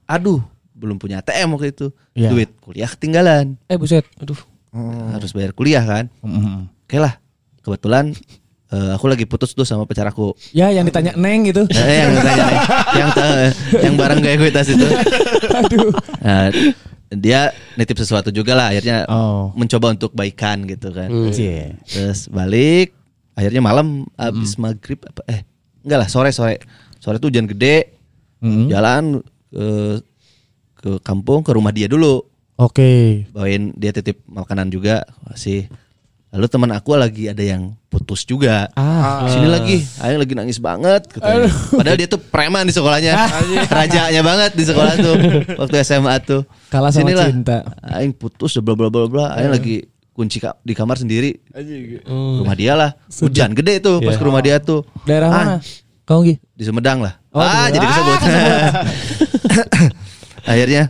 Aduh, belum punya ATM waktu itu. Iya. Duit kuliah ketinggalan. Eh buset Aduh harus bayar kuliah kan oke lah kebetulan eh, aku lagi putus tuh sama pacar aku Ya yang ditanya Neng gitu Eh, yang tanya nih, yang tahu, eh, yang barang gak gue tas itu Aduh Nah, dia nitip sesuatu juga lah akhirnya Oh. Hmm. mencoba untuk baikan gitu kan Cie. terus balik akhirnya malam abis Hmm. maghrib apa eh enggak lah sore sore sore tuh hujan gede Mm. jalan ke ke kampung ke rumah dia dulu Oke bawain dia titip makanan juga masih lalu teman aku lagi ada yang putus juga Ah. sini lagi ayo lagi nangis banget katanya. padahal dia tuh preman di sekolahnya rajanya banget di sekolah tuh waktu SMA tuh Kalah sama cinta. aing putus bla bla bla bla aing lagi kunci ka- di kamar sendiri rumah dia lah hujan gede tuh pas ke rumah dia Oh. tuh Iya. Daerah Ah, mana? Kamu Gi? di Sumedang lah. Oh, ah, di- jadi ah, disebut. Akhirnya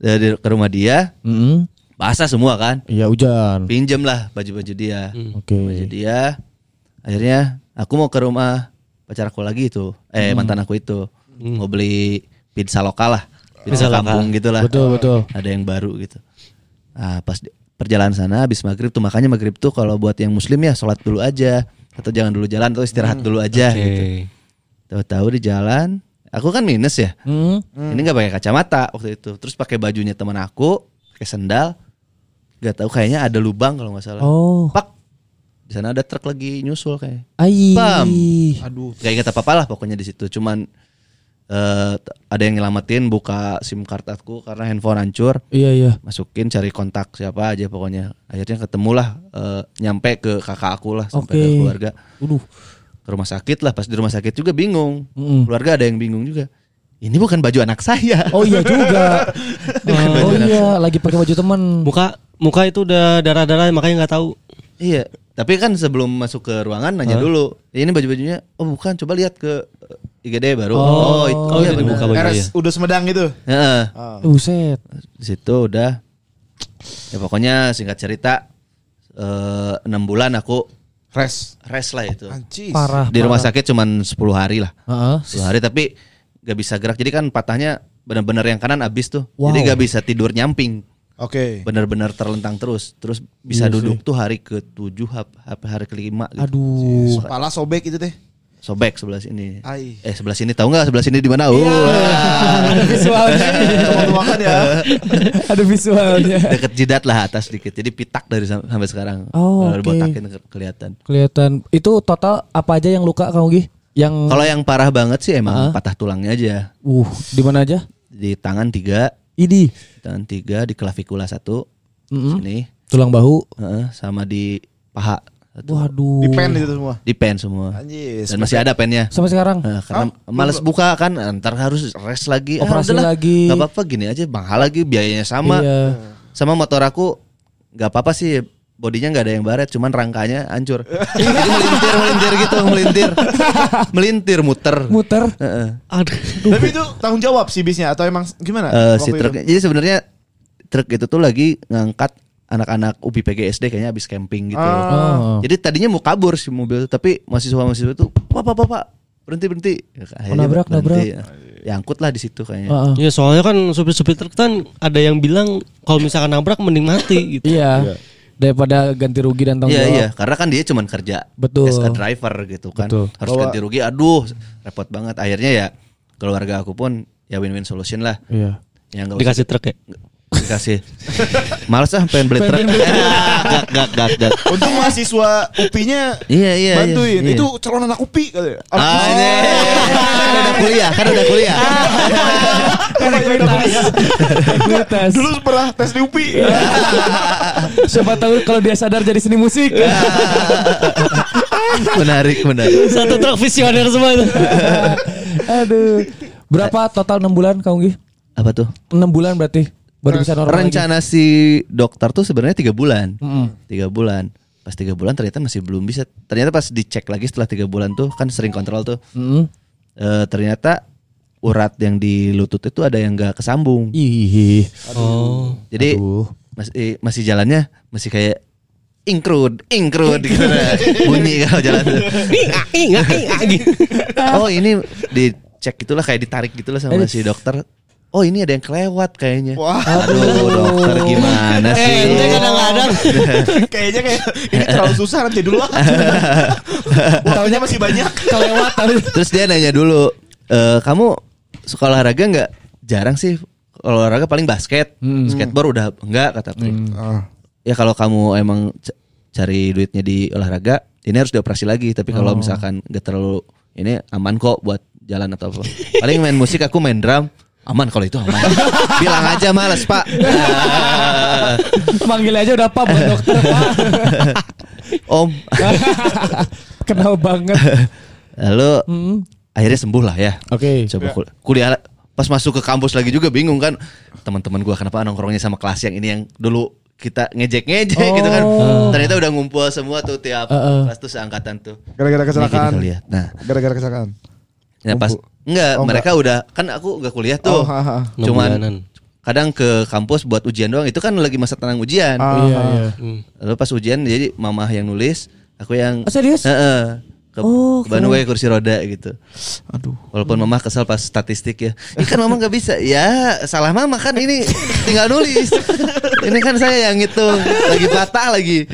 dari ke rumah dia, Mm. basah semua kan. Iya hujan Pinjem lah baju-baju dia. Oke Baju dia. Akhirnya aku mau ke rumah pacar aku lagi itu. Eh, mantan aku itu. Mau beli pizza lokal lah. Hmm. Pizza, kampung gitu lah. Betul betul Ada yang baru gitu. Nah, pas di- perjalanan sana habis maghrib tuh makanya maghrib tuh kalau buat yang muslim ya sholat dulu aja atau jangan dulu jalan atau istirahat dulu aja gitu. Tahu-tahu di jalan, aku kan minus ya. Mm. Ini nggak pakai kacamata waktu itu. Terus pakai bajunya teman aku, pakai sendal. Gak tahu kayaknya ada lubang kalau nggak salah. Oh Pak. Di sana ada truk lagi nyusul kayak. Ai Pam. aduh. Gak ingat apa-apa lah pokoknya di situ. Cuman eh, t- ada yang nyelamatin buka SIM card aku karena handphone hancur. Iya iya Masukin cari kontak siapa aja pokoknya. Akhirnya ketemulah eh, nyampe ke kakak aku lah sampai Oke. ke keluarga. Aduh Ke rumah sakit lah pas di rumah sakit juga bingung. Mm. Keluarga ada yang bingung juga. Ini bukan baju anak saya. Oh iya juga Oh iya lagi pakai baju temen Muka muka itu udah darah-darah makanya nggak tahu. Iya, tapi kan sebelum masuk ke ruangan nanya dulu. Ini baju-bajunya, oh bukan, coba lihat ke eh, IGD baru. Oh, itu oh, iya itu benar. dibuka baju RS ya. udah Semedang gitu? itu. Heeh. Ah. Buset Di situ udah. Ya pokoknya singkat cerita eh, enam bulan aku Res. rest lah itu. Ancis. Ah, Parah Di rumah sakit cuman 10 hari lah. Heeh. 10 hari tapi gak bisa gerak. Jadi kan patahnya benar-benar yang kanan abis tuh. Wow. Jadi gak bisa tidur nyamping. Oke. benar-benar terlentang terus terus bisa duduk tuh hari ke tujuh hap- hap- hari kelima gitu. Aduh. Pala sobek itu teh. sobek sebelah sini Ai. Iya. eh sebelah sini tahu nggak sebelah sini di mana oh iya. visualnya. Makan ya. Ada visualnya. deket jidat lah atas dikit jadi pitak dari sam- sampai sekarang Oh, kalau oke. dibotakin ke- kelihatan Kelihatan. Itu total apa aja yang luka Kang Ugi? Yang kalau yang parah banget sih emang patah tulangnya aja uh di mana aja? di tangan tiga Idi. tangan tiga di klavikula satu Mm-hmm. sini Tulang bahu. heeh, sama di paha satu. Waduh. Di pen itu semua. di pen semua Anjir. Ah, dan masih ada pennya Sampai sekarang. Nah, karena males buka kan ntar harus rest lagi Ah, Operasi udahlah, lagi. nggak apa-apa gini aja mahal lagi biayanya sama Iya. sama motor aku nggak apa-apa sih bodinya nggak ada yang baret cuman rangkanya hancur jadi melintir melintir gitu melintir melintir muter Muter. Heeh. Tapi itu tanggung jawab si bisnya atau emang gimana? Eh, waktu si itu? truknya jadi sebenarnya truk itu tuh lagi ngangkat anak-anak UPI PGSD kayaknya habis camping gitu Ah. Oh. Jadi tadinya mau kabur si mobil, tapi mahasiswa-mahasiswa itu, "Pak, pak, pak, pak, berhenti, berhenti." Akhirnya Oh, nabrak, berhenti. Ya angkut lah di situ kayaknya. Heeh. Ya soalnya kan supir-supir truk kan ada yang bilang kalau misalkan nabrak mending mati gitu. Iya. Daripada ganti rugi dan tanggung Iya, jawab. iya, karena kan dia cuman kerja Betul. as a driver gitu kan. Betul. Harus ganti rugi, aduh, repot banget. Akhirnya ya keluarga aku pun ya win-win solution lah. Iya. Yang enggak Dikasih truk ya. dikasih. Males ah pengen beli truk. gak, gak, gak, gak. Untung mahasiswa UPI-nya Iya, iya, bantuin. iya, iya. Itu calon anak UPI kali ya. Ah, ini. kan udah kuliah, kan udah kuliah. Kan udah kuliah. Ngetes. Dulu pernah tes di UPI. Iya. Siapa tahu kalau dia sadar jadi seni musik. menarik, menarik. Satu truk visioner semua itu. Aduh. Berapa total 6 bulan Kang Ugi? Apa tuh? 6 bulan berarti baru bisa normal lagi. rencana si dokter tuh sebenarnya tiga bulan tiga bulan pas tiga bulan ternyata masih belum bisa ternyata pas dicek lagi setelah tiga bulan tuh kan sering kontrol tuh Mm. Eh, ternyata urat yang di lutut itu ada yang nggak kesambung Ih. Oh. jadi Aduh. masih masih jalannya masih kayak ingkrud ingkrud gitu nah. bunyi kalau jalan tuh. Inga, inga, inga, gitu. oh ini dicek gitulah kayak ditarik gitulah sama si dokter oh ini ada yang kelewat kayaknya Wah. aduh dokter gimana sih Eh, ente kan kadang-kadang Kayaknya kayak ini terlalu susah nanti dulu lah. Waktunya masih banyak. Kelewat tapi Terus dia nanya dulu, "Eh, kamu suka olahraga nggak? Jarang sih. Kalau olahraga paling basket, skateboard udah enggak kata aku. Hmm. Ah, Ya kalau kamu emang c- cari duitnya di olahraga, ini harus dioperasi lagi. Tapi kalau misalkan nggak terlalu ini aman kok buat jalan atau apa. Paling main musik aku main drum. Aman kalau itu aman. Bilang aja males pak. manggil aja udah apa bukan dokter. Pak. Om, Kenal banget. lalu Mm. akhirnya sembuh lah ya. Oke. coba kul- kuliah pas masuk ke kampus lagi juga bingung kan teman-teman gua kenapa nongkrongnya sama kelas yang ini yang dulu kita ngejek-ngejek gitu kan Oh. ternyata udah ngumpul semua tuh tiap Uh-uh. kelas tuh seangkatan tuh Gara-gara kecelakaan. Ini kita lihat. nah Gara-gara kecelakaan. ya pas enggak Oh, mereka udah kan aku enggak kuliah tuh Oh, ha, ha. Enam bulanan. cuman kadang ke kampus buat ujian doang itu kan lagi masa tenang ujian Ah, Iya, iya. lalu pas ujian jadi mamah yang nulis aku yang Oh, serius? Heeh. ke Oh, kebanyakan gue kursi roda gitu Aduh. Walaupun mama kesel pas statistik ya. Ini kan mama nggak bisa. Ya salah mama kan ini tinggal nulis. ini kan saya yang ngitung lagi patah lagi.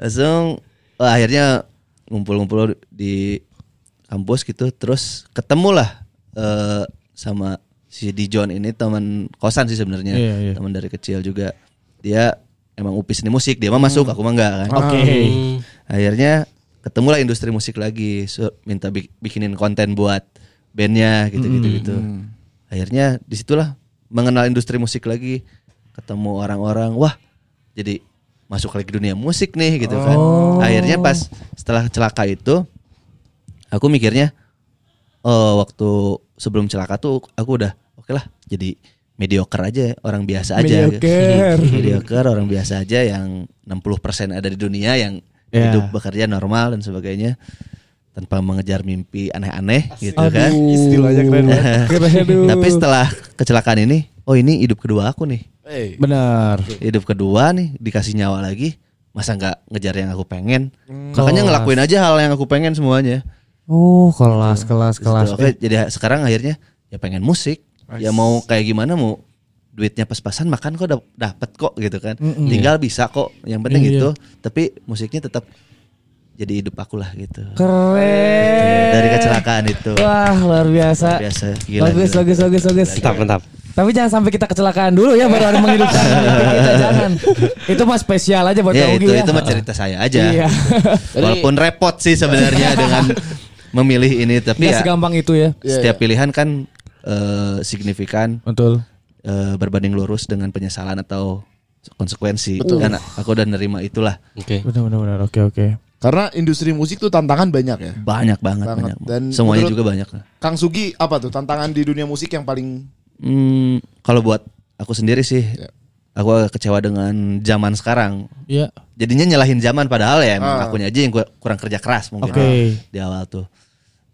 Langsung oh, akhirnya ngumpul-ngumpul di kampus gitu. Terus ketemulah eh, sama si Dijon ini teman kosan sih sebenarnya. Iya, iya. Teman dari kecil juga. Dia emang upis di musik. Dia mah masuk, Hmm. aku mah enggak kan. Oke. Akhirnya ketemulah industri musik lagi, So, minta bik- bikinin konten buat bandnya gitu-gitu gitu. Akhirnya disitulah mengenal industri musik lagi, ketemu orang-orang, wah jadi masuk lagi dunia musik nih gitu kan. Akhirnya pas setelah celaka itu, aku mikirnya, oh waktu sebelum celaka tuh aku udah oke lah jadi mediocre aja orang biasa aja Mediocre. mediocre orang biasa aja yang 60% ada di dunia yang Ya. hidup bekerja normal dan sebagainya tanpa mengejar mimpi aneh-aneh gitu kan Aduh. Istilahnya keren ya. banget. Keren aduh. tapi setelah kecelakaan ini oh ini hidup kedua aku nih Eh, benar. hidup kedua nih dikasih nyawa lagi masa nggak ngejar yang aku pengen makanya ngelakuin aja hal yang aku pengen semuanya Oh, kelas E. kelas kelas. Oke, jadi ha- sekarang akhirnya ya pengen musik. Ya mau kayak gimana mau duitnya pas-pasan makan kok dap- dapet kok gitu kan tinggal bisa kok yang penting Iya. gitu tapi musiknya tetap jadi hidup aku lah gitu Iya, Keren. dari kecelakaan itu Wah, luar biasa. Luar biasa, gila, bagus, gila. bagus, bagus, bagus. Mantap, mantap. Tapi jangan sampai kita kecelakaan dulu ya baru ada menghidupkan mimpi kita jangan. Itu mah spesial aja buat ya Kang itu Ugi ya. itu mah cerita saya aja Iya. walaupun repot sih sebenarnya dengan memilih ini tapi Nggak ya segampang itu ya. setiap pilihan kan eh, signifikan Betul. eh, berbanding lurus dengan penyesalan atau konsekuensi dan aku udah nerima itulah Oke. Benar benar benar. Oke oke. Karena industri musik tuh tantangan banyak ya. banyak banget, Banget. banyak Dan semuanya menurut- juga banyak Kang Sugi apa tuh tantangan di dunia musik yang paling Hmm, kalau buat aku sendiri sih Ya. aku agak kecewa dengan zaman sekarang Iya. jadinya nyalahin zaman padahal ya emang Ah. akunya aja yang gua- kurang kerja keras mungkin Oke. di awal tuh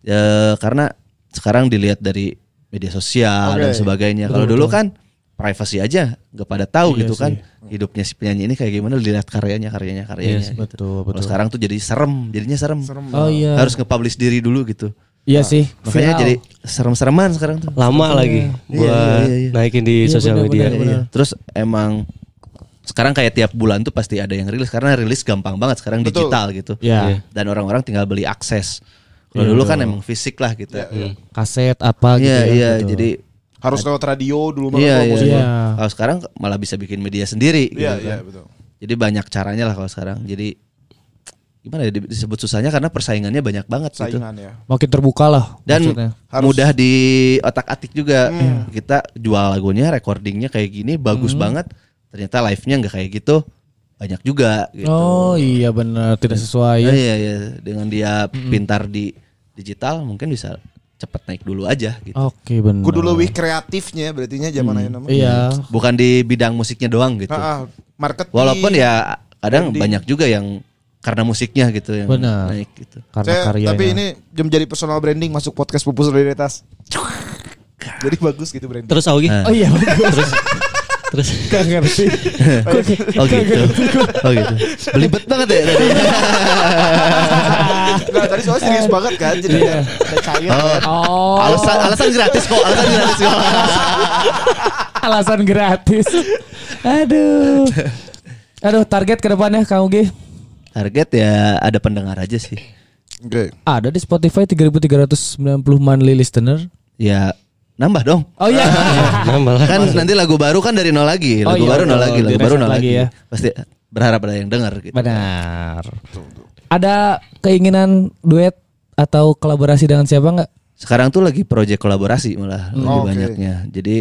ya karena sekarang dilihat dari media sosial dan Oke. sebagainya kalau dulu kan privacy aja nggak pada Iya tahu gitu kan hidupnya si penyanyi ini kayak gimana dilihat karyanya karyanya karyanya gitu. Iya betul, Kalau sekarang tuh jadi serem jadinya serem, Oh iya. harus nge-publish diri dulu gitu Iya sih. makanya Viral. jadi serem-sereman sekarang tuh Lama lagi buat iya, iya. naikin di Iya, sosial benar, media. benar, Iya. Terus emang sekarang kayak tiap bulan tuh pasti ada yang rilis karena rilis gampang banget sekarang Betul. digital gitu. Iya. Iya. Dan orang-orang tinggal beli akses. Kalau dulu kan emang fisik lah gitu. Iya kaset apa Hmm. gitu. iya, ya. Betul. jadi harus lewat radio dulu banget iya kalau iya. musik? Iya. Kalau sekarang malah bisa bikin media sendiri gitu Iya, kan. iya, betul. Jadi banyak caranya lah kalau sekarang. Jadi gimana ya disebut susahnya karena persaingannya banyak banget gitu. Saingan ya. makin terbuka lah dan maksudnya. Harus- mudah di otak-atik juga. Kita jual lagunya, recordingnya kayak gini bagus Hmm. banget. Ternyata live-nya nggak kayak gitu. Banyak juga gitu. Oh iya benar tidak sesuai. ya. Iya iya iya. dengan dia Hmm. pintar di digital mungkin bisa cepet naik dulu aja gitu. Oke benar. Kudu lebih kreatifnya berartinya zaman aja nama. Iya. Bukan di bidang musiknya doang gitu. Ah, ah, marketing. Walaupun ya kadang Branding. banyak juga yang karena musiknya gitu yang Benar. naik gitu. Karena ya. Saya- karyanya. tapi ini menjadi personal branding masuk podcast pupus solidaritas. Jadi bagus gitu branding. Terus Augi. Nah. Oh iya bagus. Terus Gak ngerti. Oh gitu. Oh gitu. Belibet banget ya tadi. nah, tadi soalnya serius banget kan jadi ada ada cair. Oh. Iya. Oh Alasan alasan gratis kok, alasan gratis kok. alasan gratis. Aduh. Aduh target ke depannya Kang Ugi. Target ya ada pendengar aja sih. Oke. Ada di Spotify 3390 monthly listener. Ya nambah dong. Oh iya. nambah lah. Kan nanti lagu baru kan dari nol lagi, Oh lagu iya, baru nol betul. lagi, lagu Di baru reset nol lagi lagi. ya. Pasti berharap ada yang dengar gitu. Benar. Ada keinginan duet atau kolaborasi dengan siapa nggak? Sekarang tuh lagi proyek kolaborasi malah lebih Oh, Oke. banyaknya. Jadi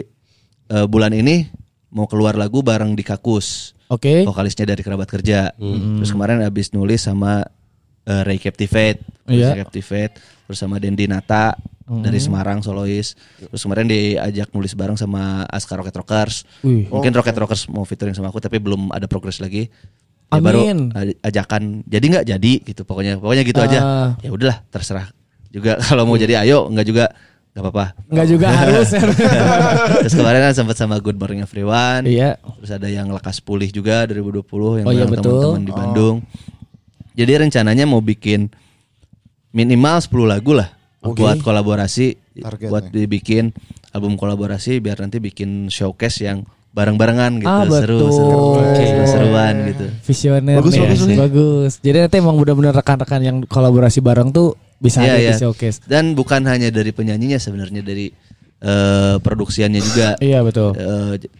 eh, bulan ini mau keluar lagu bareng di Kakus, Oke. Hmm. vokalisnya dari Kerabat Kerja. Terus kemarin abis nulis sama eh, Ray Captivate, terus Iya. Hmm. Ray Captivate, terus sama Dendi Nata dari Semarang Solois. Terus kemarin diajak nulis bareng sama Askar Rocket Rockers. Wih. Mungkin Rocket Rockers mau featuring sama aku tapi belum ada progres lagi. Ya, Amin. baru aj- ajakan jadi nggak jadi gitu pokoknya pokoknya gitu aja. Ah. Hmm. Ya udahlah terserah. Juga kalau mau jadi ayo nggak juga nggak apa-apa. Nggak juga harus. Terus kemarin kan sempat sama Good Morning Everyone. Iya. Terus ada yang Lekas Pulih juga 2020 yang Oh, iya, bareng betul. teman-teman di Bandung. Jadi rencananya mau bikin minimal 10 lagu lah buat kolaborasi Targetnya. buat dibikin album kolaborasi biar nanti bikin showcase yang bareng-barengan gitu Ah, seru betul. seru Oke. seruan gitu. Visioner Bagus, nih. ya. bagus, bagus. Bagus. Jadi nanti emang benar-benar rekan-rekan yang kolaborasi bareng tuh bisa Iya, ada iya. di showcase. Dan bukan hanya dari penyanyinya sebenarnya dari eh, produksiannya juga. Iya betul. Eh, j-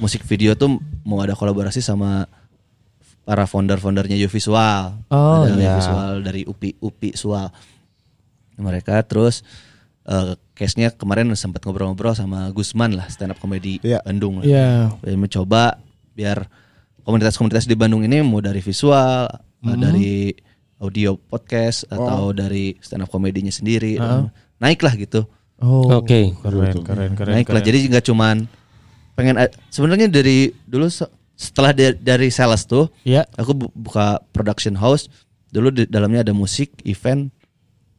musik video tuh mau ada kolaborasi sama para founder-foundernya Yovisual. Oh, ada iya. Yovisual dari UPI UPI Sual. Mereka terus eh, case-nya kemarin sempat ngobrol-ngobrol sama Gusman lah stand up comedy Iya. Bandung lah. Iya. Ya, mencoba biar komunitas-komunitas di Bandung ini mau dari visual, eh, Hmm. dari audio podcast atau dari stand up komedinya sendiri eh, naik lah gitu. Oh. Oke. Keren, keren, keren. naik lah. Jadi nggak cuman pengen a- sebenarnya dari dulu se- setelah da- dari sales tuh Iya. aku bu- buka production house dulu di dalamnya ada musik, event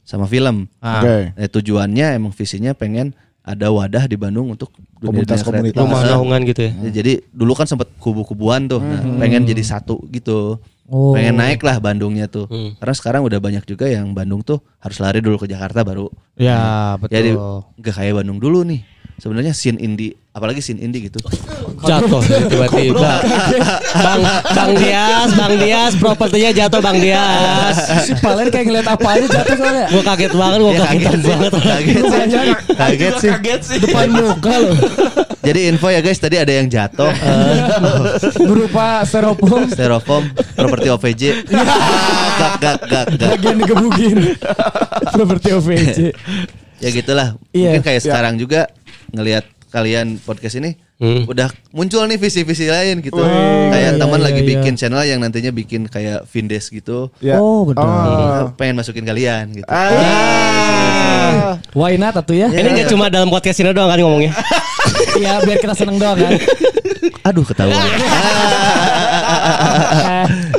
sama film. Ah. Oke. Eh, tujuannya emang visinya pengen ada wadah di Bandung untuk dunia- dunia Komunitas-komunitas. kreatif. Rumah Nah. naungan gitu ya. Ya, Jadi dulu kan sempet kubu-kubuan tuh, nah, pengen jadi satu gitu, Hmm. Oh. pengen naik lah Bandungnya tuh. Karena sekarang udah banyak juga yang Bandung tuh harus lari dulu ke Jakarta baru. Ya betul. Jadi nggak kayak Bandung dulu nih. sebenarnya scene indie apalagi scene indie gitu Oh, Jatuh tiba-tiba. Bang Bang Dias, Bang Dias, propertinya jatuh Bang Dias. si Palen kayak ngeliat apa aja jatuh soalnya. Gue kaget banget, gue Ya, iya, kaget sih. banget. kaget sih kaget sih Depan muka loh. jadi info ya guys tadi ada yang jatuh Iya. eh, Berupa styrofoam styrofoam properti OVJ Ah, gak gak gak gak Iya. bagian digebugin. Seperti OVJ. ya gitulah Iya. mungkin kayak sekarang juga ngelihat kalian podcast ini Hmm. udah muncul nih visi-visi lain gitu iya, kayak teman iya, lagi iya. bikin channel yang nantinya bikin kayak Vindes gitu Ya. Oh, benar. Iya. Ah. pengen masukin kalian gitu Ah. Why not atuh ya? Ini nggak cuma dalam podcast ini doang kan ngomongnya. Iya biar kita seneng doang kan. aduh ketahuan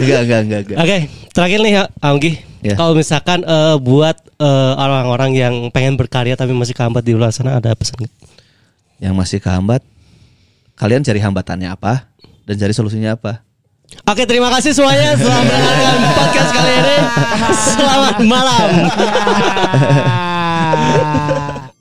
enggak enggak enggak enggak Oke, terakhir nih ya, Anggi. Ya. Kalau misalkan eh, buat eh, orang-orang yang pengen berkarya tapi masih kambat di luar sana ada pesan nggak? yang masih kehambat kalian cari hambatannya apa dan cari solusinya apa Oke, terima kasih semuanya telah mendengarkan podcast kali ini. Selamat malam. Ah.